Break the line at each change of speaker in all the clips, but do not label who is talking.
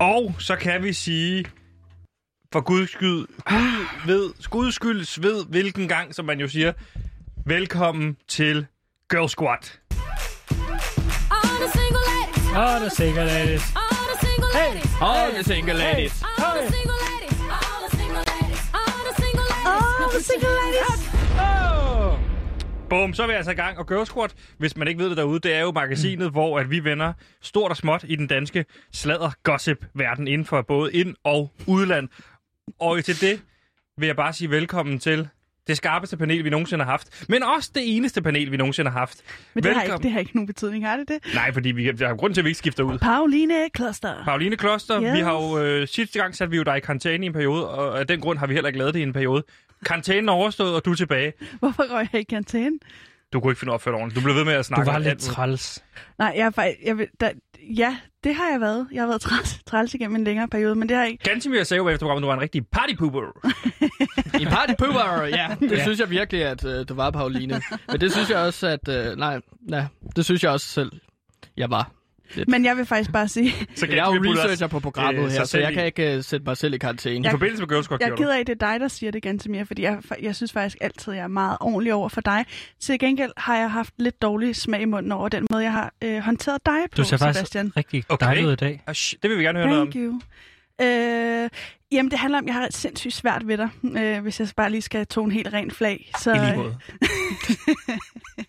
Og så kan vi sige, for guds skyld, gud ved, guds skyld ved, hvilken gang, som man jo siger, velkommen til Girl Squad.
All the single ladies.
All the single ladies.
All the single ladies.
All
All
the single ladies.
the single ladies. All the single ladies. All the single ladies. All the single ladies.
Bum, så er vi altså i gang. Og Girl Squad, hvis man ikke ved det derude, det er jo magasinet, mm. hvor at vi vender stort og småt i den danske sladder-gossip-verden inden for både ind- og udland. Og til det vil jeg bare sige velkommen til det skarpeste panel, vi nogensinde har haft. Men også det eneste panel, vi nogensinde har haft.
Men det har, ikke, det har ikke nogen betydning, har det det?
Nej, fordi vi, der er jo grund til, at vi ikke skifter ud.
Pauline Kloster.
Pauline Kloster, yes.
Yes.
vi har jo øh, sidste gang sat vi jo dig i karantæne i en periode, og af den grund har vi heller ikke lavet det i en periode. Karantænen er overstået, og du er tilbage.
Hvorfor røg jeg i karantæne?
Du kunne ikke finde opført ordentligt. Du blev ved med at
Du
snakke.
var
om
lidt
alt muligt.
træls.
Nej, jeg, er fakt- jeg, vil- der, ja, det har jeg været. Jeg har været træls, træls igennem en længere periode, men det har ikke...
Gantimir sagde jo efter programmet, at du var en rigtig partypooper.
I party pooper, ja. Det
Ja.
synes jeg virkelig, at øh, du var, Pauline. Men det synes jeg også, at... Øh, nej, nej, det synes jeg også selv, jeg var.
Men jeg vil faktisk bare sige,
Så
Jeg er jo
Gantemir putter også-
researcher på programmet
øh,
her,
sig
så
selv
jeg
i-
kan ikke øh, sætte mig selv i karantæne.
I forbindelse med Girls Squad
jeg er
gjorde
ked
du.
af, at det er dig, der siger det, Gantemir, fordi jeg, jeg synes faktisk altid, jeg er meget ordentlig over for dig. Til gengæld har jeg haft lidt dårlig smag i munden over den måde, jeg har øh, håndteret dig på,
Du ser faktisk
Sebastian.
rigtig
Okay.
okay. dejlig ud i dag.
Ah, shit, det vil vi gerne høre noget om.
Thank you. Øh, jamen, det handler om, at jeg har sindssygt svært ved dig, øh, hvis jeg bare lige skal tone en helt ren flag. Så,
I lige måde.
ja,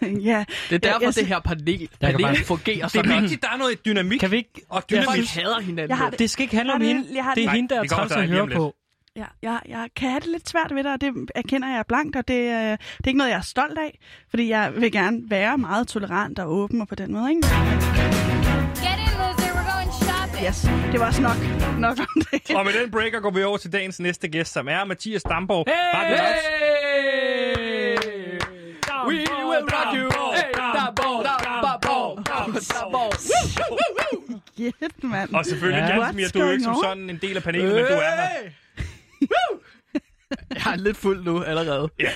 Det er
Ja,
derfor,
jeg sy-
det her panel,
kan
panel
bare-
fungerer
Det
så
er
godt.
vigtigt, der er noget dynamik.
Kan vi ikke...
Og
Jeg
dynamik.
Vi
synes-
hader hinanden.
Jeg har det-
Det skal ikke handle om
Har det-
hende.
jeg har
Det er
det-
hende, der
Nej,
er
det kommer
træls
til
at
dig
høre
lige om
på.
Ja, jeg, jeg kan have det lidt svært ved det, og det erkender jeg blankt, og det, øh, det er ikke noget, jeg er stolt af, fordi jeg vil gerne være meget tolerant og åben og på den måde, ikke?
Get in, loser. We're going shopping.
Yes, det var også nok, nok om det.
Og med den breaker går vi over til dagens næste gæst, som er Mathias Damborg. Radio Loud.
Hey! We will rock you! Hey, Damborg, Damborg, Damborg.
Shit, mand.
Og selvfølgelig,
Ja.
Gantemir,
What's
du er jo ikke som
going on?
sådan en del af panelet, men du er her.
Øh. Jeg er lidt fuld nu allerede.
Ej,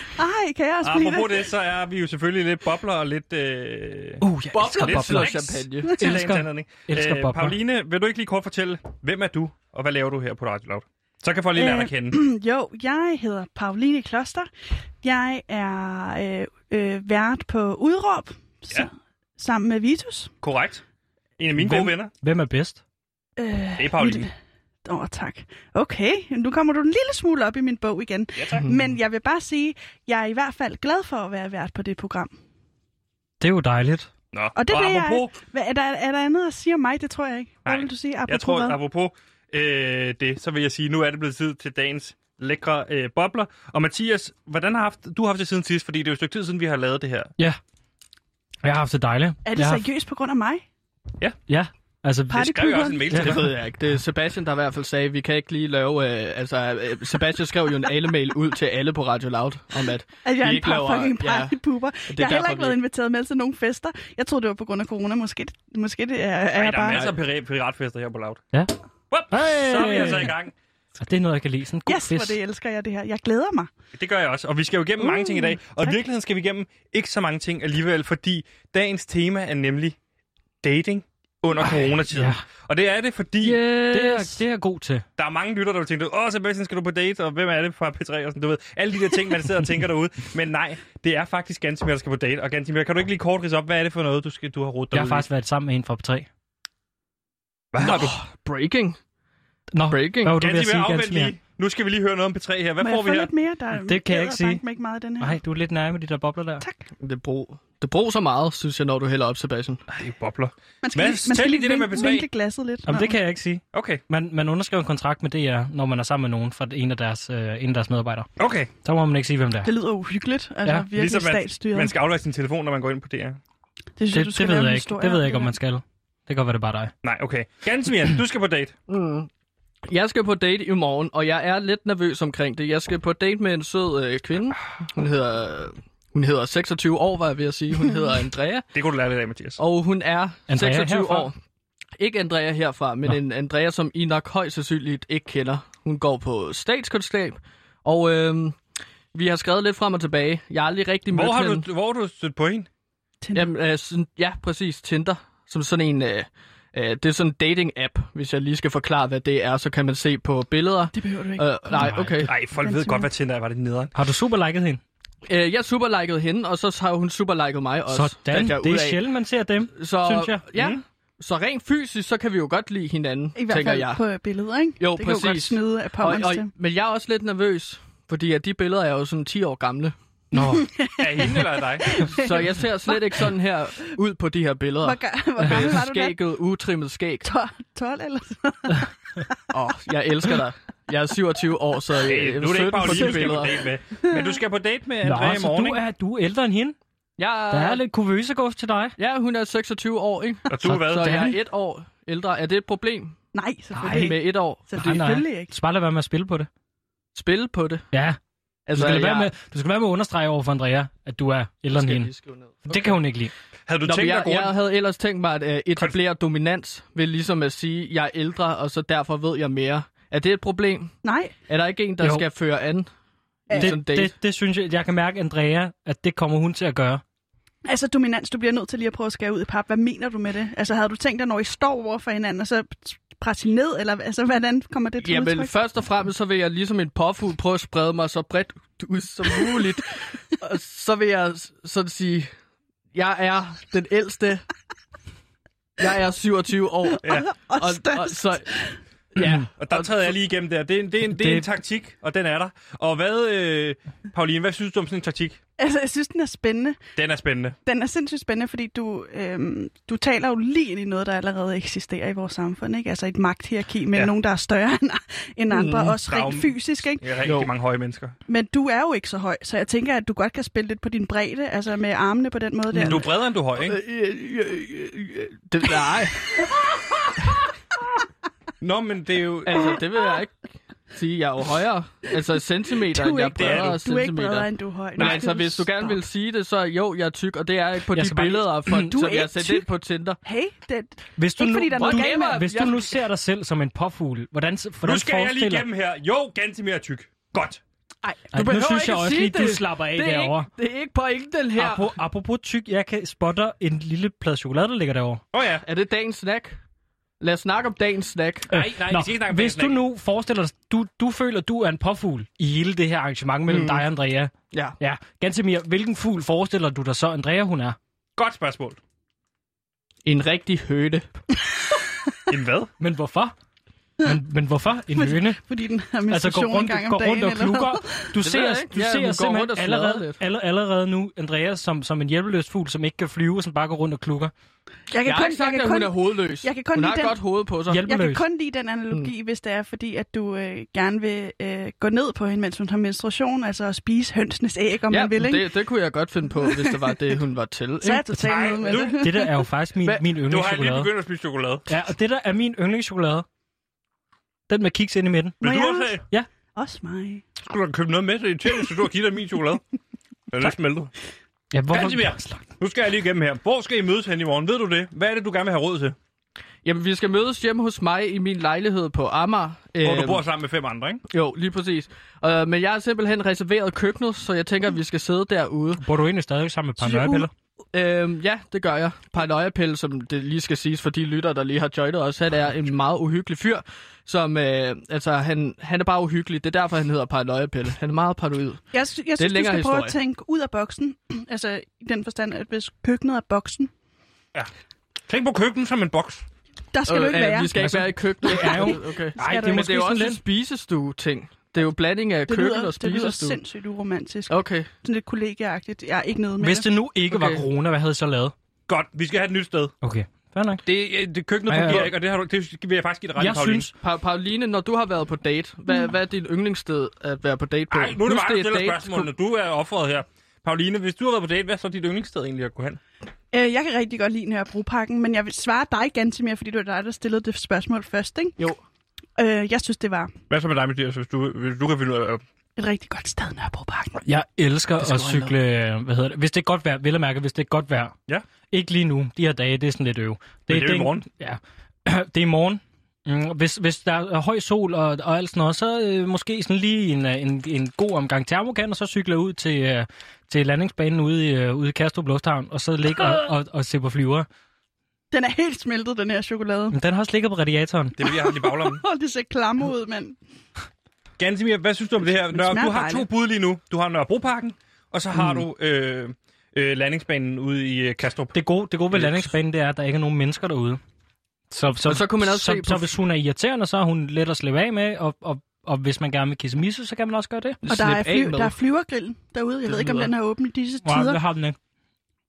kan jeg også blive
Apropos
det?
det, så er vi jo selvfølgelig lidt bobler og lidt... Øh...
Uh, jeg elsker
Bobler,
bobler.
bobler.
bobler.
champagne.
til
elsker-
dagens anledning. Øh,
elsker bobler.
Pauline, vil du ikke lige kort fortælle, hvem er du, og hvad laver du her på Radio Loud? Så kan folk lige lære dig at
Øh.
kende.
Jo, jeg hedder Pauline Kloster. Jeg er øh, øh, vært på Udråb,
Ja.
ja. sammen med Vitus.
Korrekt. En af mine gode
Hvem?
venner.
Hvem er bedst?
Øh,
Det er Pauline.
Åh, oh, tak. Okay, nu kommer du en lille smule op i min bog igen.
Ja, tak.
Men jeg vil bare sige, jeg er i hvert fald glad for at være vært på det program.
Det er jo dejligt.
Nå.
Og det
og
blev jeg
apropos,
Hvad, er, der, er der andet at sige om mig? Det tror jeg ikke. Hvad
Nej.
vil du sige? Apropos
Jeg tror,
hvad?
at apropos øh, det, så vil jeg sige, nu er det blevet tid til dagens lækre øh, bobler. Og Mathias, hvordan har haft, du har haft det siden sidst? Fordi det er jo et stykke tid siden, vi har lavet det her.
Ja. Jeg har haft det dejligt.
Er det
jeg har...
seriøst på grund af mig?
Ja. Altså,
Det skrev jeg også en mail til
Ja.
dig.
Det ved jeg ikke. Det er Sebastian, der i hvert fald sagde, vi kan ikke lige lave... Øh, altså, øh, Sebastian skrev jo en alle-mail ud til alle på Radio Loud, om at
At jeg er
Vi
en
ikke
par
laver-
fucking
ja.
partypuber. jeg har
derfor,
heller ikke
vi-
været inviteret med til nogen fester. Jeg troede, det var på grund af corona. Måske, det- måske det er, er
Ej,
jeg
der er
bare...
masser af pira- piratfester her på Loud.
Ja.
Wop,
Hey!
Så er vi altså i gang.
Og det er noget, jeg kan lide. Sådan en god
Yes,
fisk.
hvor det elsker jeg det her. Jeg glæder mig.
Det gør jeg også, og vi skal jo igennem uh, mange ting i dag. Og i
tak.
virkeligheden skal vi igennem ikke så mange ting alligevel, fordi dagens tema er nemlig dating under coronatiden.
ja.
Og det er det, fordi yeah.
Det er,
Yes.
det er jeg god til.
der er mange lytter, der vil tænke, åh Sebastian, skal du på date, og hvem er det fra P3, og sådan, du ved, alle de der ting, man sidder og tænker derude. Men nej, det er faktisk Gantimir, der skal på date. Og Gantimir, kan du ikke lige kort ridse op, hvad er det for noget, du, skal, du har rodet
Jeg
derude?
har faktisk været sammen med en fra P3.
Hvad har du?
breaking.
Nå,
Breaking.
hvad var du ved at
Gantimir,
sige,
afvent
Gansimir?
lige. Nu skal vi lige høre noget om P3 her. Hvad
Må
får
jeg
vi
få
her?
lidt mere? Der
Det kan jeg ikke sige.
mig ikke meget i den her.
Nej, du er lidt nærmere de der bobler der.
Tak.
Det brug. Det brug så meget, synes jeg, når du hælder op, Sebastian.
Ej, bobler.
Man skal,
Hvad?
lige, man skal
Tæl
lige
det der med
vinkle,
betag.
vinkle glasset lidt.
Jamen,
Nå.
det kan jeg ikke sige.
Okay,
Man, man underskriver en kontrakt med DR, når man er sammen med nogen fra en af deres, øh, en af deres medarbejdere.
okay.
Så må man ikke sige, hvem det er.
Det lyder uhyggeligt. Altså,
Ja,
ja, virkelig ligesom statsstyret.
man skal aflade sin telefon, når man går ind på DR.
det,
Det, det, ved jeg ikke. Det ved jeg ikke, om man skal. Det kan godt være, det er bare dig.
Nej, okay. Gansimir, du skal på date.
Mm. Jeg skal på date i morgen, og jeg er lidt nervøs omkring det. Jeg skal på date med en sød øh, kvinde. Hun hedder, hun hedder 26 år, var jeg ved at sige. Hun hedder Andrea,
Det kunne du lære lidt af, Mathias.
og hun er
Andrea
26
herfra?
år. Ikke Andrea herfra, men
Nå.
en Andrea, som I nok højst sandsynligt ikke kender. Hun går på statskundskab, og øh, vi har skrevet lidt frem og tilbage. Jeg har aldrig rigtig mødt
Hvor har,
hende.
du, hvor har du stødt på hende?
Jamen, øh, sådan, ja, præcis. Tinder. Som sådan en øh, Øh, det er sådan en dating-app. Hvis jeg lige skal forklare, hvad det er, så kan man se på billeder.
Det behøver du ikke.
Øh, nej, okay.
Nej, folk ved godt, hvad Tinder er. Var det nederen?
Har du superliket hende?
Øh, jeg superlikede hende, og så har hun superliket mig også.
Sådan,
fandt jeg
det
ud
er
af.
sjældent, man ser dem.
Så,
synes jeg.
Ja.
Mm.
Så rent fysisk, så kan vi jo godt lide hinanden,
I hvert
tænker
fald
jeg.
på øh, billeder, ikke?
Jo,
det kan jo godt
præcis.
snyde af
Og,
pommerens
og,
til.
men jeg er også lidt nervøs, fordi at de billeder er jo sådan 10 år gamle.
Nå,
Er I hende eller er dig?
Så jeg ser slet ikke sådan her ud på de her billeder.
Hvor, ga- hvor gammel var du da?
Skægget, utrimmet skæg.
12, 12 eller sådan
Åh, oh, jeg elsker dig. Jeg er 27 år, så jeg
Øh, nu er
er
det
17
ikke
på
Pauline, du skal på
de billeder.
date med. Men du skal på date med Andrea
Nå
i
så
morgen,
du
ikke?
er, du er ældre end hende. Der er
Jeg,
lidt kuvøsegås til dig.
ja, hun er 26 år, ikke?
Og du er hvad?
Så jeg
Danny?
er et år ældre. Er det et problem
Nej,
Nej.
selvfølgelig
med
ikke.
et år?
Selvfølgelig ikke.
Så bare lad være med at spille på det.
Spille på det? Altså,
Ja, du skal, lade
jeg-
være med, du skal lade være med at understrege over for Andrea, at du er ældre end
skal jeg
hende.
lige skrive ned.
Det kan hun ikke lide.
Havde du
Nå, men
tænkt dig
jeg,
at gå
jeg
rundt?
havde ellers tænkt mig at øh, etablere dominans ved ligesom at sige, at jeg er ældre, og så derfor ved jeg mere. Er det et problem?
Nej,
Er der ikke en, der
Jo.
jo. skal føre an?
Ja.
Ja. Sådan en
Det,
date?
det, det synes jeg, jeg kan mærke, Andrea, at det kommer hun til at gøre.
altså dominans, du bliver nødt til lige at prøve at skære ud i pap. Hvad mener du med det? Altså havde du tænkt dig, når I står over for hinanden, og så presse ned, eller altså hvordan kommer det til
Jamen,
udtryk?
først og fremmest, så vil jeg ligesom en påfugl prøve at sprede mig så bredt ud som muligt. og så vil jeg s- sådan sige, jeg er den ældste. Jeg er 27 år.
Ja.
Og,
Og, og,
størst.
så, ja.
Og der træder jeg lige igennem der. Det er en, det er en, det er en
Det-
taktik, og den er der. Og hvad, øh, Pauline, hvad synes du om sådan en taktik?
Altså, jeg synes, den er spændende.
Den er spændende.
Den er sindssygt spændende, fordi du, øhm, du taler jo lige ind i noget, der allerede eksisterer i vores samfund. Ikke? Altså et magthierarki med
Ja.
ja. nogen, der er større end, end andre, mm, også
der er jo-
rent fysisk. Ikke?
Jeg er rigtig
Jo.
mange høje mennesker.
Men du er jo ikke så høj, så jeg tænker, at du godt kan spille lidt på din bredde, altså med armene på den måde der.
Men du er bredere, end du er høj, ikke?
Øh, øh, øh, øh, Det, nej,
Nå, men det er jo...
altså det vil jeg ikke sige. Jeg er jo højere. Altså centimeter,
Du er
end jeg er
ikke-
Det er
bredere
du er ikke
centimeter.
bredere, end du er høj.
Men
Nej,
altså, hvis du gerne vil sige det, så jo, jeg er tyk, og det er ikke på
Jeg
de
skal bare lige-
billeder, for,
Du er
som jeg har
ikke
sendt
tyk.
ind på Tinder.
Hey, det,
Hvis du
Ikke
nu,
fordi der er noget
du,
galt med-
hvis du nu ser dig selv som en påfugl, hvordan, s- hvordan
Nu skal jeg lige
forestiller...
igennem her. Jo, Gantemir er tyk. Godt.
ej,
Ej, nu
behøver
synes
ikke
jeg
at
også
sige
lige, du
det.
slapper af
Det er,
derovre.
ikke, det er ikke pointen her.
Apropos, apropos tyk, jeg kan spotte en lille plade chokolade, der ligger derovre.
Åh oh, ja.
Er det dagens snack? Lad os snakke om dagens snack.
Øh.
Nej, nej, vi skal ikke snakke om
hvis
dagen,
du
nej.
nu forestiller dig, du, du føler, du er en påfugl i hele det her arrangement mellem mm. dig og Andrea.
Ja.
Ja, Gantemir, hvilken fugl forestiller du dig så, Andrea hun er?
Godt spørgsmål.
En rigtig høne.
En hvad?
Men hvorfor? Men, men hvorfor en høne?
fordi den har
Altså går
menstruation
rundt,
en gang om
går
dagen.
rundt og
eller
klukker.
hvad?
Du
ved
ser,
jeg
du
ikke. Ja, hun
ser
går rundt
simpelthen
og sladrer
allerede,
lidt.
aller, allerede nu Andreas som, som en hjælpeløs fugl, som ikke kan flyve, som bare går rundt og klukker.
Jeg kan
Jeg har
kun,
ikke sagt,
jeg
at
kan
hun er
kun,
hovedløs.
jeg kan kun
hun har
lide
et
den-
godt hoved på sig.
jeg kan
Hjælpeløs.
kun lide den analogi, mm. hvis det er, fordi at du øh, gerne vil øh, gå ned på hende, mens hun har menstruation, altså at spise hønsenes æg, om
ja,
man vil, ikke?
det, det kunne jeg godt finde på, hvis det var det, hun var til.
Så er
Ikke?
jeg totalt
Nej,
med
nu-
det.
Det der er jo faktisk min,
Hvad?
min
Nu har jeg lige
yndlingschokolade.
begyndt at spise chokolade.
Ja, og det der er min yndlingschokolade. Den med kiks ind i midten.
Vil
Må
du
jeg
også
også?
have?
Også mig.
Skulle du købe noget med til Italien, så du har givet dig min chokolade? Den er smeltet.
Ja, hvorfor?
Gantemir, nu skal jeg lige igennem her. Hvor skal I mødes hen i morgen? Ved du det? Hvad er det, du gerne vil have råd til?
Jamen, vi skal mødes hjemme hos mig i min lejlighed på Amager.
Hvor du
Øhm,
bor sammen med fem andre, ikke?
Jo, lige præcis. Øh, men jeg har simpelthen reserveret køkkenet, så jeg tænker, at vi skal sidde derude.
Bor du egentlig stadig sammen med
Synes jeg,
paranoiapiller?
Øhm, ja, det gør jeg. Paranoiapille, som det lige skal siges for de lytter, der lige har joinet os, han er en meget uhyggelig fyr, som, øh, altså, han, han er bare uhyggelig. Det er derfor, han hedder Paranoiapille. Han er meget paranoid.
Jeg, sy- jeg synes, du
længere
skal prøve at
historie.
tænke ud af boksen. altså i den forstand, at hvis køkkenet er boksen,
Tænk på køkkenet som en boks.
der skal øh, du ikke være.
vi skal ikke
Altså,
være i køkkenet.
det er jo-
Okay.
Skal du
Nej, det er
ikke.
Men det
måske
er jo også
sådan
en
lidt.
spisestue-ting. Det er jo blandinger af
det
køkken
lyder,
og
det lyder
spisestue.
sindssygt uromantisk.
Okay.
Sådan lidt kollegaagtigt. Jeg er ikke nede med
Hvis
det.
det nu ikke var
Okay.
corona, hvad havde I så lavet?
Godt, vi skal have et nyt sted.
Okay, fair nok.
Det, øh, det køkkenet
Ja, ja.
fungerer ikke, og det, har du, det vil jeg faktisk give dig ret i,
Jeg
Pauline.
synes,
Pa- Pauline, når du har været på date, hvad,
Mm.
hvad er dit yndlingssted at være på date på?
Ej, nu er det
Husk,
bare, du stiller
date-
spørgsmål, når du er offeret her. Pauline, hvis du har været på date, hvad er så dit yndlingssted egentlig at gå hen?
Øh, jeg kan rigtig godt lide Nørrebroparken, men jeg vil svare dig, Gantemir, fordi det var dig, der stillede det spørgsmål først. Ikke?
Jo.
Øh, jeg synes, det var
Hvad så med dig, Mathias, hvis du, hvis du kan finde ud af...
et rigtig godt sted, Nørrebroparken.
jeg elsker at
skal du
cykle, hvad hedder det, hvis det er godt vejr, vil jeg mærke, hvis det er godt vejr.
Ja.
Ikke lige nu, de her dage, det er sådan lidt øv.
det er jo i
en-
morgen.
Ja, det er i morgen. Mm, Hvis, hvis der er høj sol og, og alt sådan noget, så øh, måske sådan lige en, øh, en, en god omgang termokan, og så cykle ud til, øh, til landingsbanen ude i, øh, ude i Kastrup Lufthavn, og så ligge og, og, og se på flyver.
Den er helt smeltet, den her chokolade.
Men den har også ligget på radiatoren.
Det vil jeg have i baglommen.
Åh, det ser klamme ud, mand.
Gansimir, hvad synes du om det her? Nør,
smager
du har to
dejligt.
bud lige nu. Du har Nørrebroparken, og så har mm. du øh, øh, landingsbanen ude i øh, Kastrup.
Det gode, det gode ved landingsbanen, det er, at der ikke er nogen mennesker derude. Så, så,
Og så kunne man også
så,
se på-
så, hvis hun er irriterende, så er hun let at slippe af med, og, og, og hvis man gerne vil kisse misse, så kan man også gøre det.
Og der er,
Slip af
fly,
med.
der er flyvergrillen derude. Jeg ved ikke, om
lyder-
den er åben i disse
Wow, det
tider.
har den ikke.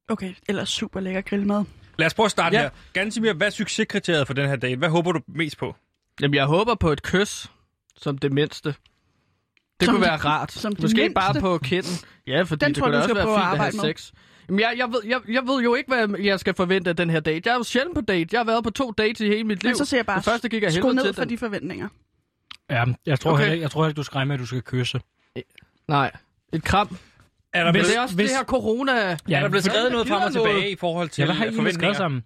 Okay, ellers super lækker grillmad.
Lad os prøve at starte ja.
Ja.
her. Gansimir, hvad er succeskriteriet for den her date? Hvad håber du mest på?
Jamen, jeg håber på et kys, som det mindste. Det
Som
kunne
det-
være rart.
som det
Måske
mindste?
bare på kinden. Ja, fordi
Den
det
tror
kunne
jeg,
da også
du skal
være
prøve
fint
at
at have
arbejde med.
sex. Jamen, jeg, jeg, ved, jeg, jeg ved jo ikke, hvad jeg skal forvente af den her date. Jeg er jo sjældent på date. Jeg har været på to dates i hele mit liv.
Men så ser jeg bare,
det første gik jeg
skru
helvede
ned
til.
for
Den.
de forventninger.
Ja, jeg tror,
Okay.
okay. heller, ikke- jeg tror heller, ikke, du skal regne med, at du skal kysse.
Nej, et kram.
Er der
Men
blevet,
det er også
hvis-
det her corona...
Ja,
er der blevet skrevet noget frem og
Gider noget?
tilbage i forhold til
Ja, hvad har I egentlig skrevet
forventninger?
sammen?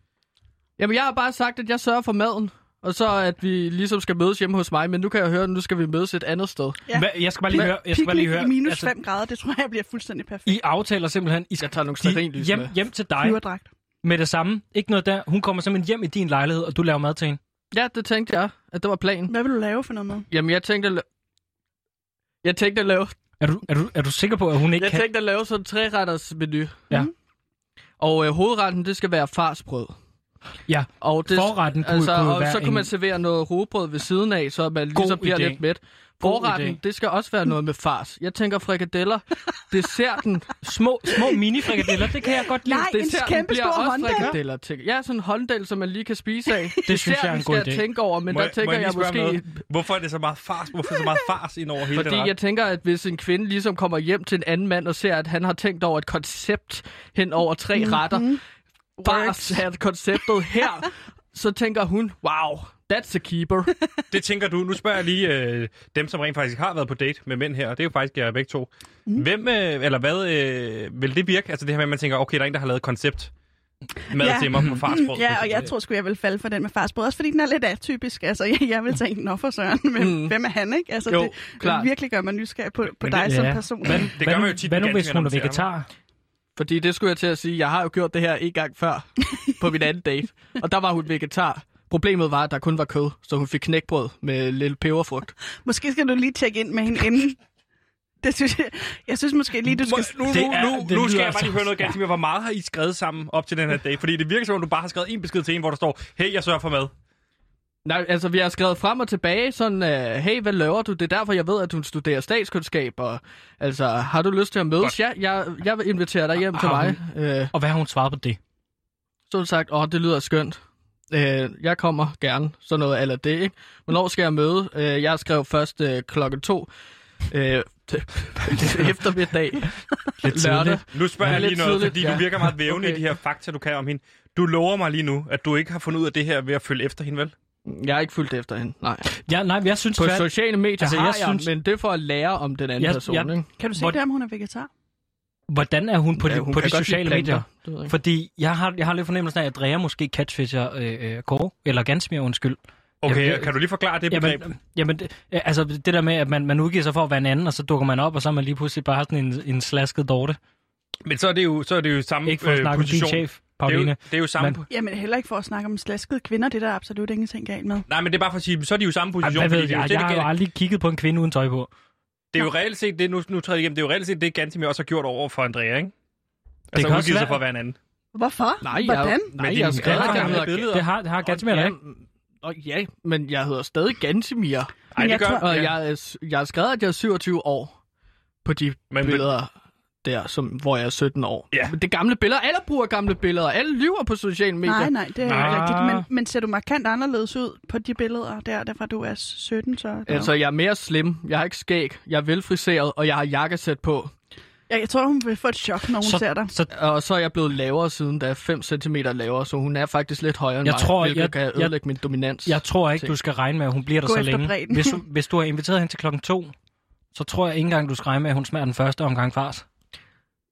Jamen, jeg har bare sagt, at jeg sørger for maden. Og så at vi ligesom skal mødes hjemme hos mig, men nu kan jeg høre, at nu skal vi mødes et andet sted.
Ja.
Hvad, jeg skal bare lige høre. Jeg skal bare lige
Picnic
høre. altså-
i minus 5 grader, det tror jeg bliver fuldstændig perfekt.
I aftaler simpelthen, I skal
Jeg tager nogle
de,
sterinlys med.
hjem, hjem til dig
Flyverdragt.
med det samme. Ikke noget der. Hun kommer simpelthen hjem i din lejlighed, og du laver mad til hende.
Ja, det tænkte jeg, at det var planen.
Hvad vil du lave for noget mad?
Jamen, jeg tænkte at la- jeg tænkte at lave,
Er du, er du, er du sikker på, at hun ikke
jeg
kan?
tænkte at lave sådan en træretters menu.
Ja.
Mm.
Og øh, hovedretten, det skal være farsbrød.
Ja,
Og det,
Forretten kunne-
altså,
kunne
og
være
så kunne man
en-
servere noget robrød ved siden af, så man ligesom bliver
idé.
lidt mæt.
God
Forretten,
idé.
det skal også være noget med fars. Jeg tænker frikadeller. Desserten,
små, små mini-frikadeller, det kan jeg godt lide.
Nej, en
Desserten
kæmpe
bliver
stor
også
hånddel.
frikadeller, tænker jeg. Ja, sådan en hånddel, som man lige kan spise af.
Det synes jeg er en
Desserten
god
skal
idé.
tænke over, men
Må
der tænker
må
jeg,
lige spørge om
måske...
noget? Hvorfor er det så meget fars? Hvorfor er der så meget fars ind over hele
Fordi
den ret?
jeg tænker, at hvis en kvinde ligesom kommer hjem til en anden mand og ser, at han har tænkt over et koncept hen over tre mm-hmm. retter, bare at konceptet her, så tænker hun, wow, that's a keeper.
Det tænker du. Nu spørger jeg lige øh, dem, som rent faktisk har været på date med mænd her, og det er jo faktisk jer begge to. Mm. Hvem, øh, eller hvad, øh, vil det virke? Altså det her med, at man tænker, okay, der er en, der har lavet et koncept mad
Ja.
til mig på farsbrød.
Ja, og jeg tror sgu, jeg vil falde for den med farsbrød. Også fordi den er lidt atypisk. Altså, jeg, jeg vil tænke, nå for søren, hvem, mm. hvem er han, ikke? Altså,
Jo,
det
klart.
virkelig gør mig nysgerrig på, på
Men
dig
det-
som
ja.
person.
Men det gør
Hvad nu-
man jo tit.
Hvad
med
nu, hvis
ganske
hun
andre
er
stjerner.
vegetar?
Fordi det skulle jeg til at sige, jeg har jo gjort det her en gang før på min anden date, og der var hun vegetar. Problemet var, at der kun var kød, så hun fik knækbrød med lille peberfrugt.
Måske skal du lige tjekke ind med hende inden. Det synes jeg, jeg synes måske lige, du skal...
Må- Nu,
Det
nu,
er-
nu,
det
nu
lyder
skal jeg bare
altså-
lige høre noget ganske mere. Hvor meget har I skrevet sammen op til den her dag? Fordi det virker som om, du bare har skrevet en besked til en, hvor der står, hey, jeg sørger for mad.
Nej, altså vi har skrevet frem og tilbage sådan, øh, hey, hvad laver du? Det er derfor, jeg ved, at hun studerer statskundskab, og altså, har du lyst til at mødes? Ja, jeg, jeg vil invitere dig hjem til
Har
mig. Øh,
Og hvad har hun svaret på det?
så har hun sagt, åh, oh, det lyder skønt. Øh, jeg kommer gerne, sådan noget eller det, ikke? Hvornår skal jeg møde? Øh, jeg skrev først øh, klokken to øh, t- eftermiddag, lørdag.
tidligt.
Nu spørger
Ja,
jeg lige
lidt
noget,
tidligt,
fordi
ja.
du virker meget vævende okay. i
Okay.
de her fakta, du kan om hende. Du lover mig lige nu, at du ikke har fundet ud af det her ved at følge efter hende, vel?
Jeg har ikke fulgt efter hende, nej.
Ja, nej, jeg synes,
På
tvært-
sociale medier altså,
Altså,
har jeg,
jeg
jeg
synes-
men det er for at lære om den anden
Jeg-
person,
jeg-
ikke?
Kan du se
Hvor-
det, om hun er vegetar?
hvordan er hun på,
Ja,
de,
hun
på
kan
de
godt lide
sociale
planter.
medier?
Det ved jeg ikke.
Fordi jeg har, jeg har lidt fornemmelsen af, at Drea måske catfisher øh, øh, Kåre, eller Gansmir, undskyld.
Okay,
Jamen, det-
kan du lige forklare det begreb?
Jamen, jamen det, øh, altså det der med, at man, man udgiver sig for at være en anden, og så dukker man op, og så er man lige pludselig bare sådan en, en slasket dorte.
Men så er det jo, så er det jo samme
Ikke for at
øh,
snakke om din
position.
chef,
det, er jo,
Pauline.
det er jo samme...
Men-
Jamen heller ikke for at snakke om slaskede kvinder, det er der absolut ingenting galt med.
Nej, men det er bare for at sige, så er de jo i samme
Ej,
position.
hvad ved
fordi det, er jo
jeg?
det,
Jeg
det
har jo
Gan-
aldrig kigget på en kvinde uden tøj på.
det er jo reelt set, det, nu, nu træder jeg igennem, det er jo reelt set det, Gantimir også har gjort over for Andrea, ikke? Altså
kan også
udgivet sig
være-
for at være en anden.
Hvorfor?
Nej, jeg,
Hvordan?
nej,
Men
jeg,
det er
jeg har
en
skrevet,
gammel
at jeg
gammel
hedder
billede.
Det har, det har Gansmir
Og
eller
ja,
ikke.
Og ja, men jeg hedder stadig Gantimir.
Ej,
Men
det
jeg
gør...
tror-
Og
ja.
ja. jeg, er s- jeg har skrevet, at jeg er 27 år på de
Men-
men, billeder der, som, hvor jeg er 17 år.
Ja.
Men det er gamle billeder. Alle bruger gamle billeder. Alle lyver på sociale medier.
Nej, nej, det er ikke
Nej.
rigtigt. Men, men ser du markant anderledes ud på de billeder der, derfra du er 17, så... der-
Altså, jeg er mere slim. Jeg har ikke skæg. Jeg er velfriseret, og jeg har jakkesæt på.
Jeg, jeg tror, hun vil få et chok, når hun
Så-
ser dig.
Så
Og så er jeg blevet lavere siden, da jeg er 5 cm lavere, så hun er faktisk lidt højere end
Jeg
mig,
tror,
hvilket
jeg-
kan
jeg-
ødelægge min dominans.
Jeg tror ikke,
ting.
du skal regne med, at hun bliver der
Gå
så
efter
længe.
bredden.
Hvis du, hvis du har inviteret hende til klokken to, så tror jeg ikke engang, du skal regne med, at hun smager den første omgang fars.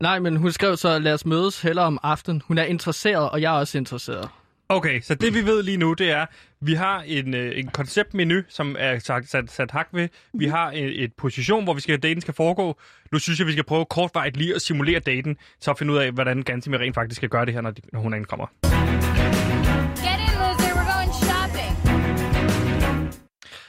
Nej, men hun skrev så, lad os mødes hellere om aftenen. Hun er interesseret, og jeg er også interesseret.
Okay, så det vi ved lige nu, det er, vi har en, øh, en konceptmenu, som er sat, sat, sat hak ved. Vi har øh, et, et position, hvor vi skal, daten skal foregå. Nu synes jeg, vi skal prøve kortvejt lige at simulere daten, så at finde ud af, hvordan Gansimir rent faktisk skal gøre det her, når, de, når hun ankommer.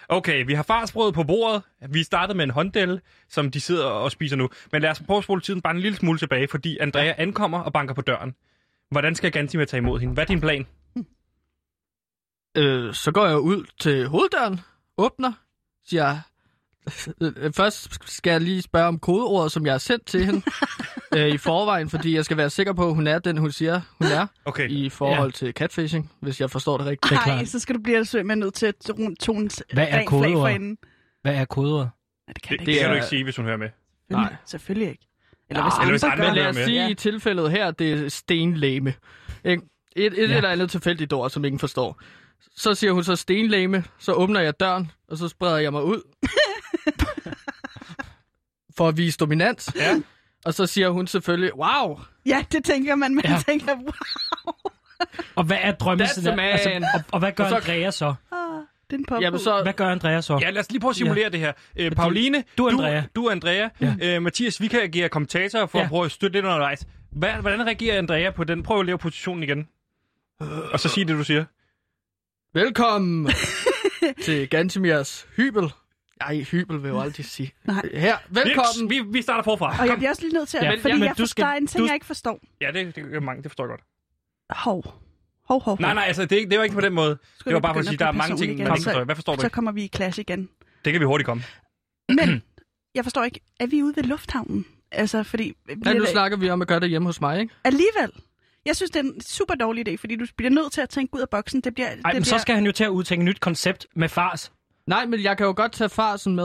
Okay, vi har farsbrød på bordet. Vi startede med en hånddel, som de sidder og spiser nu. Men lad os prøve at spole tiden bare en lille smule tilbage, fordi Andrea ankommer og banker på døren. Hvordan skal Gantima tage imod hende? Hvad er din plan?
Øh, så går jeg ud til hoveddøren, åbner, siger... Øh, Først skal jeg lige spørge om kodeordet, som jeg har sendt til hende øh, i forvejen, fordi jeg skal være sikker på, at hun er den, hun siger, hun er,
Okay,
i forhold til catfishing, hvis jeg forstår det rigtigt.
Det er
Nej,
klart.
så skal du blive altså simpelthen nødt til at rundt tonens
Hvad er
rent flag
kodeord?
for enden.
Hvad er koder?
Nej, det kan
det,
det,
det kan
ikke.
du ikke sige, hvis hun hører med.
Selvfølgelig,
nej.
selvfølgelig ikke.
Eller hvis,
Eller hvis andre
Men lad os
hører med.
sige, i tilfældet her, det er stenlæme. Ikke? Et, et
Ja.
ja. eller andet tilfældigt ord, som ingen forstår. Så siger hun så stenlæme, så åbner jeg døren, og så spreder jeg mig ud. for at vise dominans.
Ja.
Og så siger hun selvfølgelig, wow,
Ja, det tænker man, man
Ja.
ja. tænker, wow,
Og hvad er drømmescenariet?
That's the man.
og, og hvad gør
Og så-
Andrea så?
det er en pop
jamen så,
Hvad gør Andrea så?
Ja, lad os lige prøve at simulere ja. det her. Øh, Pauline,
du er Andrea.
Du, du er Andrea. Ja. Øh, Mathias, vi kan agere kommentator for ja.
Ja.
at prøve at støtte lidt undervejs. Hvad, hvordan reagerer Andrea på den? Prøv at lave positionen igen. Og så sig det, du siger.
velkommen til Gantemirs hybel. Nej, hybel vil jeg jo aldrig sige.
Nej.
Her, velkommen.
Vi, vi starter forfra.
Og jeg bliver også lige nødt til at,
Ja,
ja,
men-
fordi
ja, men
jeg
du
forstår,
skal-
der er en ting,
du-
jeg ikke forstår.
Ja, det, det er mange, det forstår jeg godt.
Hov. Hov, hov,
Nej, nej, altså, det, det var ikke på den måde.
Skulle
Det var
vi
bare for at
begynde
sige, der er
blive
mange ting,
personlig
man
igen? Altså,
ikke forstår. Hvad forstår du
Så
ikke?
kommer vi i clash igen.
Det kan vi hurtigt komme.
Men jeg forstår ikke, er vi ude ved lufthavnen? Altså, fordi vi
Ja, nu
er,
snakker vi om at gøre det hjemme hos mig, ikke?
alligevel. Jeg synes, det er en super dårlig idé, fordi du bliver nødt til at tænke ud af boksen. Det bliver,
Ej,
det
men
bliver...
så skal han jo til at udtænke et nyt koncept med fars.
Nej, men jeg kan jo godt tage farsen med.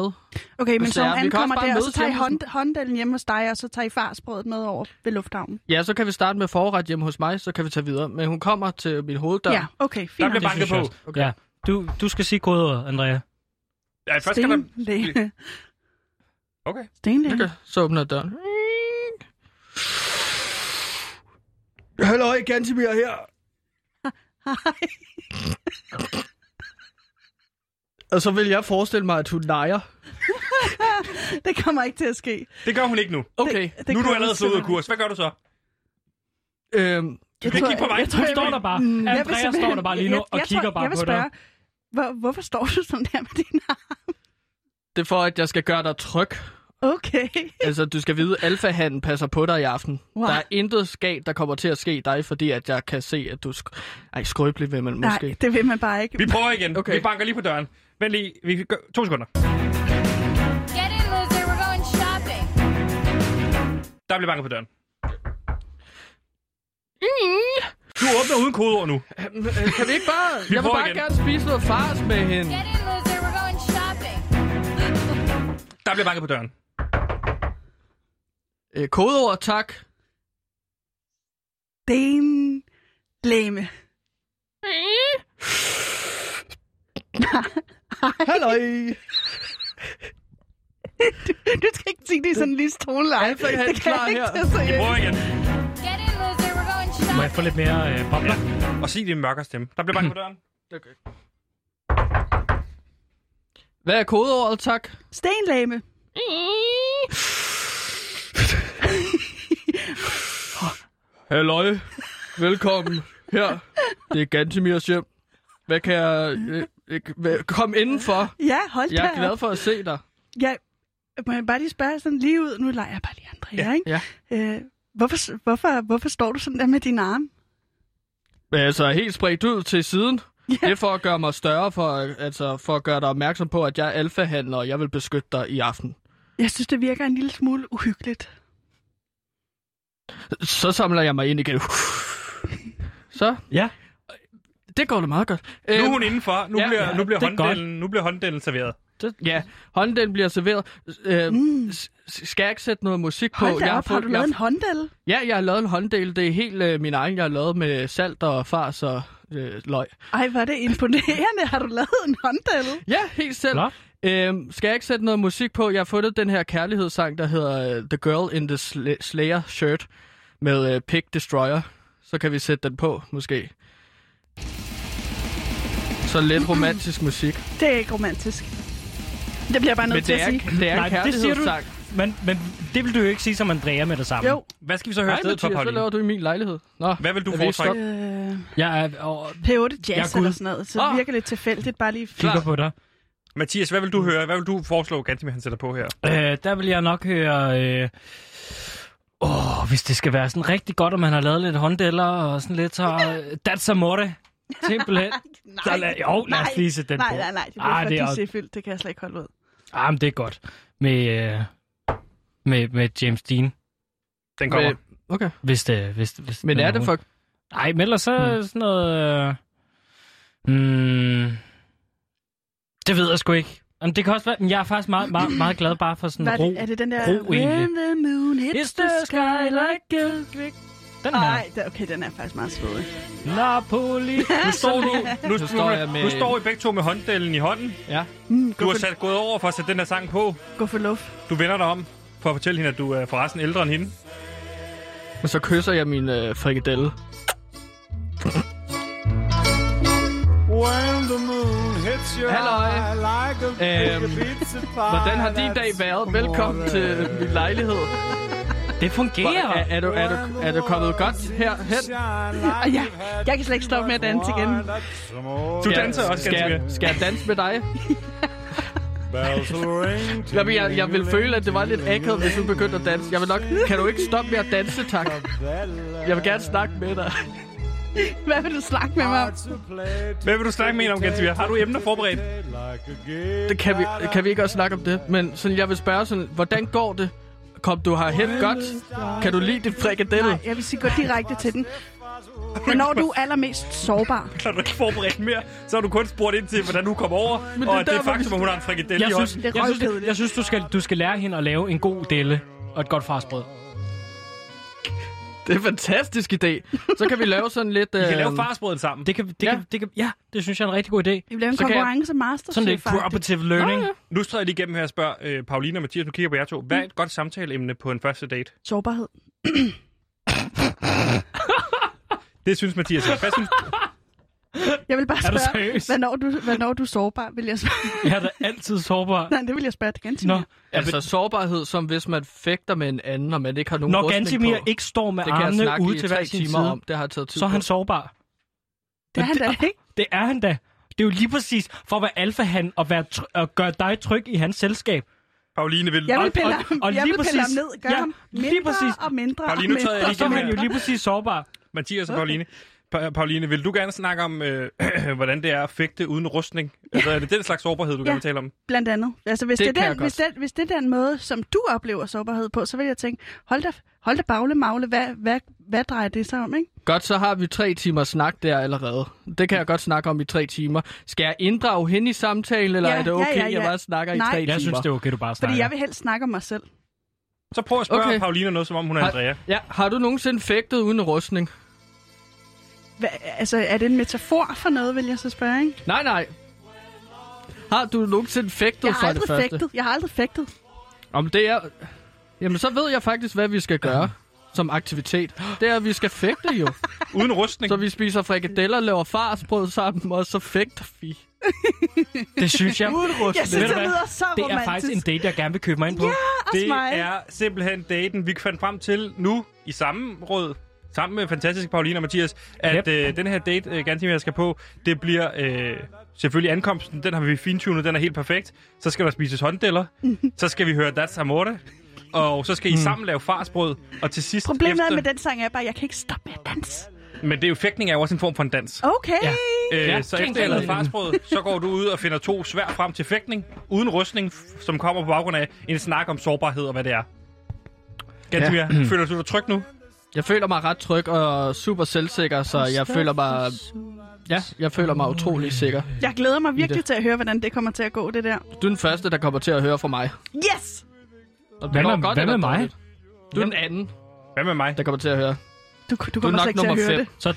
Okay, men
Hvis
så
det
hun
er, vi kan også
ankommer
bare
der, og så
mødes
tager I
hjemme hos-
hånd, hånddelen hjemme hos dig, og så tager I farsbrødet med over ved lufthavnen.
Ja, så kan vi starte med forret hjemme hos mig, så kan vi tage videre. Men hun kommer til min hoveddør.
Ja, okay,
Der
fint.
bliver
Det
banket
synes jeg
på.
også. Ja. Du, du skal sige kodeordet, Andrea.
Ja, først skal der...
Stenlæge.
Okay.
Stenlæge.
Okay, så åbner jeg døren. Hallo, Gantimir her.
Hej.
Og så vil jeg forestille mig, at hun leger.
Det kommer ikke til at ske.
Det gør hun ikke nu.
Okay,
Det,
Nu er du
kommer
allerede slået ud af
simpelthen-
kurs. Hvad gør du så?
øhm,
Jeg
kan
tror-
kigge på mig.
jeg tror,
Du
jeg
står
vil-
der bare.
Mm, jeg
jeg vil
Andrea står
simpelthen-
der bare lige nu
jeg-
og
jeg
kigger
tror-
bare
jeg vil
på dig.
spørge, Hvor, hvorfor står du sådan der med dine arme?
det er for, at jeg skal gøre dig tryg.
Okay.
Altså, du skal vide, at alfahanden passer på dig i aften.
Wow.
Der er intet skab, der kommer til at ske dig, fordi at jeg kan se, at du... Sk- Ej, skrøbelig vil man måske.
Nej, det vil man bare ikke.
Vi prøver igen.
Okay.
Vi banker lige på døren. Vent lige. Vi gør... To sekunder.
Get in, loser. We're going shopping.
Der bliver banket på døren. Du åbner uden kodeord nu.
Øhm, øh, Kan vi ikke bare... jeg vil
prøver
bare
igen.
gerne spise noget fars med hende.
Get in, loser. We're going shopping.
Der bliver banket på døren.
Øh, kodeord, tak.
Den lame.
Halløj.
Du skal ikke sige det i sådan en lille toneleje.
Alfred, han
Det
er
kan
klar
jeg ikke
her.
tage
Vi prøver
seriøst.
igen.
Get in, loser. We're going
Må jeg
shopping.
få lidt mere øh, bobler?
Og sig din mørkere stemme. Der bliver banket på døren.
Okay. Hvad er kodeordet, tak?
Stenlame.
Halløj. Velkommen. Her. Det er Gantemirs hjem. Hvad kan jeg... Øh, øh, hvad- kom indenfor.
Ja, hold da.
Jeg er
op.
glad for at se dig.
Ja, må jeg bare lige spørge sådan lige ud? Nu leger jeg bare lige andre ja. ikke?
ja.
Øh, hvorfor, hvorfor, hvorfor står du sådan der med dine arme?
Men altså, helt spredt ud til siden.
Ja.
Det er for at gøre mig større, for, at- altså, for at gøre dig opmærksom på, at jeg er alfahandler, og jeg vil beskytte dig i aften.
Jeg synes, det virker en lille smule uhyggeligt.
Så samler jeg mig ind igen. Så,
Ja.
det går da meget godt.
Nu er
Øhm,
hun indenfor. Nu
ja,
bliver,
ja,
nu bliver,
det er godt.
hånddelen, nu bliver hånddelen serveret.
Det, ja, hånddelen bliver serveret. Øh,
Mm.
mm. Skal jeg ikke sætte noget musik på?
Hold da
jeg
op, har du
jeg,
lavet en hånddel?
Ja, jeg har lavet en hånddel. Det er helt øh, min egen, jeg har lavet med salt og fars og øh, løg.
Ej, hvor er det imponerende. Har du lavet en hånddel?
Ja, helt selv.
Flot.
Øhm, skal jeg ikke sætte noget musik på? Jeg har fundet den her kærlighedssang, der hedder øh, The Girl in the Sl- Slayer Shirt med øh, Pig Destroyer. Så kan vi sætte den på, måske. Så lidt romantisk musik.
Det er ikke romantisk. Det bliver jeg bare nødt
Men
til
det
at
er,
sige.
det er
Nej,
en
det siger du.
kærlighedssang.
Men, men det vil du jo ikke sige som Andrea med det samme.
Jo.
Hvad skal vi så høre
Nej,
i stedet for,
Mathias, så
Pauline?
laver du i min lejlighed. Nå,
Hvad vil du
er vi
foretrække?
stoppet?
Øh,
Jeg er, og
P8
Jeg er
jazz
Gud.
eller sådan noget, så det
Ah.
virker lidt tilfældigt. Bare lige
kigger på dig.
Mathias, hvad vil du høre? Hvad vil du foreslå, Gantimir han sætter på her?
Øh, der vil jeg nok høre... Øh... Oh, hvis det skal være sådan rigtig godt, og man har lavet lidt hånddeller og sådan lidt, så... øh, That's amore. Simpelthen. Så lad, jo, lad os lige sætte den
nej,
på.
nej, nej, det bliver
Ah,
for
det er også-
disefyldt, det kan jeg slet ikke holde ud.
Ah, men det er godt. Med, øh, med, med James Dean,
Den kommer.
Men- Øh, Okay.
hvis det... Hvis, hvis
Men er det for...
Nej, men ellers så
Hmm.
sådan noget... Øh... Mm... Det ved jeg sgu ikke. Jamen, det kan også være... Men jeg er faktisk meget, meget, meget glad bare for sådan
Hvad er,
ro.
det, er det den der...
ro egentlig.
When the moon hits the sky like...
a Den her.
Nej, det- okay, den er faktisk meget svedig.
Napoli.
Nu står, du, nu,
Nu
nu,
står jeg
nu,
med-
nu står I begge to med hånddelen i hånden.
Ja.
Mm,
Du
gå,
har
for,
sat gået over for at sætte den her sang på.
gå for luft.
Du vender dig om for at fortælle hende, at du er forresten ældre end hende.
Men så kysser jeg min øh, frikadelle.
When the moon hits your
Halløj.
eye like a
Øhm,
pizza pie.
Hvordan har din dag været? Velkommen til min lejlighed. Hvor,
Det fungerer.
er, er, du, er, du, er du kommet godt herhen?
Og jeg, Ah, jeg kan slet ikke stoppe med at danse igen.
Du danser også
skal,
ganske.
jeg, skal jeg danse med dig? Jeg, jeg, jeg vil føle, at det var lidt akavet, hvis du begyndte at danse. Jeg vil nok... Kan du ikke stoppe med at danse, tak? Jeg vil gerne snakke med dig.
Hvad vil du snakke med mig om?
Hvad vil du snakke med hende om, Gantimir? Har du emner forberedt?
Det kan, vi, kan vi ikke også snakke om det? Men sådan, jeg vil spørge sådan, hvordan går det? Kom du herhen godt? Kan du lide dit frikadelle?
Nej, jeg vil sige, gå direkte til den. Hvornår du er allermest sårbar?
Har du ikke forberedt mere? Så har du kun spurgt ind til, hvordan du kommer over.
det er
og det,
der,
det
hvor vi-
faktum, at hun har en frikadelle
jeg,
i
synes,
hånden.
Det
jeg,
er
synes,
røvkedeligt.
det, jeg synes, du skal, du skal lære hende at lave en god delle og et godt farsbrød.
Det er en fantastisk idé. Så kan vi lave sådan lidt...
Vi kan lave
øhm,
farsbrødet sammen.
Det kan, det
Ja.
ja. Kan, det kan, ja, det synes jeg er en rigtig god idé.
Vi bliver en
Så kan jeg-
konkurrence master.
Sådan lidt cooperative learning.
Nå,
Nu står jeg lige igennem her og spørger øh, Pauline og Mathias, nu kigger jeg på jer to. Hvad er et godt samtaleemne på en første date?
Sårbarhed.
Det synes Mathias ikke. Hvad synes
Jeg vil bare
Er du
spørge,
seriøs?
hvornår du, hvornår du er sårbar, vil jeg spørge.
Jeg er da altid sårbar.
Nej, det vil jeg spørge igen til.
Nå,
Altså sårbarhed, som hvis man fægter med en anden, og man ikke har nogen
når
rustning
Gantimir
på.
ikke står med
det kan jeg
armene
snakke
ude
i
til
tre
hver sin
timer
side,
om. Det har taget tid
så er han
på.
sårbar.
Det er han da ikke.
Det er han da. Det er jo lige præcis for at være alfahan og være tr- og gøre dig tryg i hans selskab.
Pauline vil...
Jeg vil
Og-
pille
og-
ham,
og
jeg
lige
vil pille ham
præcis-
ned, gøre
ja,
ham
lige
mindre
præcis.
og mindre og
Pauline, nu
mindre.
træder jeg
Og
lige
så er
igennem
han jo
her.
lige præcis sårbar.
Mathias og Pauline. Pa- Pauline, vil du gerne snakke om, øh, hvordan det er at fægte uden rustning? Altså, er det den slags sårbarhed, du
Ja.
gerne vil tale om?
Blandt andet. Altså, hvis
Det
det, det,
kan
er
jeg
den,
godt.
hvis, den, hvis det er den måde, som du oplever sårbarhed på, så vil jeg tænke, hold da, hold da bagle magle, hvad, hvad, hvad drejer det sig om, ikke?
Godt, så har vi tre timer snak der allerede. Det kan jeg godt snakke om i tre timer. Skal jeg inddrage hende i samtalen, eller
Ja,
er det
ja,
okay,
ja,
jeg
ja.
bare snakker
Nej.
i tre
Jeg
timer?
Jeg synes, det er okay, du bare snakker.
Fordi jeg vil helst snakke om mig selv.
Så prøv at spørge
Okay.
okay. Pauline noget, som om hun er
Har-
Andrea.
Ja, har du nogensinde fægtet uden rustning?
Hva, altså, er det en metafor for noget, vil jeg så spørge, ikke?
Nej, nej. Har du nogensinde fægtet
Jeg har
for det
aldrig
første?
fægtet. Jeg har aldrig fægtet.
Om det er... Jamen, så ved jeg faktisk, hvad vi skal gøre som aktivitet. Det er, at vi skal fægte jo.
Uden rustning.
Så vi spiser frikadeller, laver farsbrød sammen, og så fægter vi.
Det synes jeg.
Uden rustning.
Jeg synes,
du
det
hvad?
lyder så
Det er
romantisk.
faktisk en date, jeg gerne vil købe mig ind på.
Også
Det
mig.
er simpelthen daten, vi fandt frem til nu i samråd, sammen med fantastiske Pauline og Mathias, at
Yep.
øh, den her date, øh, ganske jeg skal på, det bliver øh, selvfølgelig ankomsten. Den har vi fintunet, den er helt perfekt. Så skal der spises hånddeller. så skal vi høre That's Amorte. Og så skal I sammen lave farsbrød. Og til sidst
Problemet
efter...
med den sang er bare, at jeg kan ikke stoppe med at danse.
Men det er jo, fægtning er jo også en form for en dans.
Okay.
Ja.
Øh,
Ja,
så
det
efter
er
jeg
en
lavede
god idé.
farsbrød, så går du ud og finder to svær frem til fægtning, uden rustning, f- som kommer på baggrund af en snak om sårbarhed og hvad det er. Gantimir, ja. føler du dig tryg nu?
Jeg føler mig ret tryg og super selvsikker, så jeg føler mig... Ja, jeg føler mig utrolig sikker.
Jeg glæder mig virkelig til at høre, hvordan det kommer til at gå, det der.
Du er den første, der kommer til at høre fra mig.
Yes!
Og
Hvad
det går
med-
godt
hvad
eller
med mig?
dårligt. Du er den anden,
Hvad med mig?
der kommer til at høre.
Du, du
Du er
kommer slet
nok
ikke til at
nummer
høre
fem.
det.
Så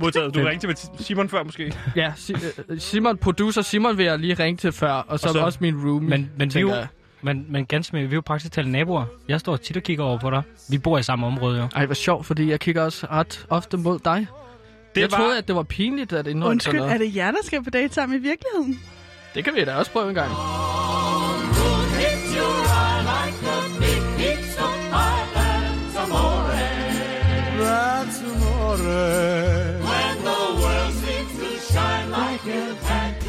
Modtaget. Du ringte til Mati- Simon før måske.
Ja, Si- øh, Simon, producer Simon vil jeg lige ringe til før, og så,
Og så-
også min roomie.
Men, men, vi er
tænker
jo,
jeg.
men, men ganske mere, vi er jo praktisk talt naboer. Jeg står tit og kigger over på dig. Vi bor i samme område, jo.
Ej, hvor sjovt, fordi jeg kigger også ret ofte mod dig.
Det
jeg troede, at det var pinligt at indrømme
Undskyld,
sådan
er
noget.
det jer, der skal på date sammen i virkeligheden?
Det kan vi da også prøve en gang.
That's amore.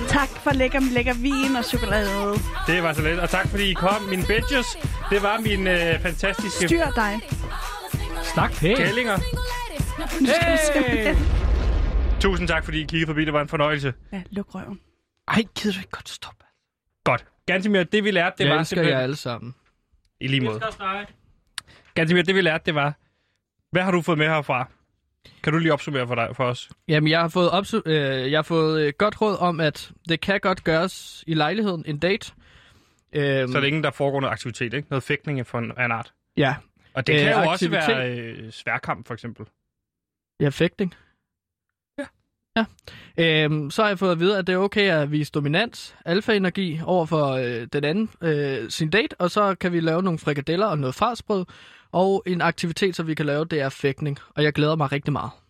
Tak for lækker, lækker vin og chokolade.
Det var så let. Og tak fordi I kom, mine bitches. Det var min øh, fantastiske
Styr dig.
Snak pænt.
kællinger.
Nu skal du simpelthen...
Tusind tak, fordi I kiggede forbi. Det var en fornøjelse.
Ja, luk røven.
Ej, gider du ikke godt stoppe?
Godt. Gansimir, det vi lærte, det
Det jeg
var
elsker
simpelthen...
jer alle sammen.
I lige måde. Gansimir, det vi lærte, det var... Hvad har du fået med herfra? Kan du lige opsummere for, dig, for os?
Jamen, jeg har fået, opsu- øh, jeg har fået øh, godt råd om, at det kan godt gøres i lejligheden, en date. Øhm,
Så længe der foregår noget aktivitet, ikke? Noget fægtning for en, af en art.
Ja,
Og det
Øh,
kan jo
aktivitet.
også være øh, sværkamp, for eksempel.
ja, fægtning. Ja. ja. Øhm, så har jeg fået at vide, at det er okay at vise dominans, alfa-energi over for øh, den anden, øh, sin date, og så kan vi lave nogle frikadeller og noget farsbrød, og en aktivitet, som vi kan lave, det er fægtning, og jeg glæder mig rigtig meget.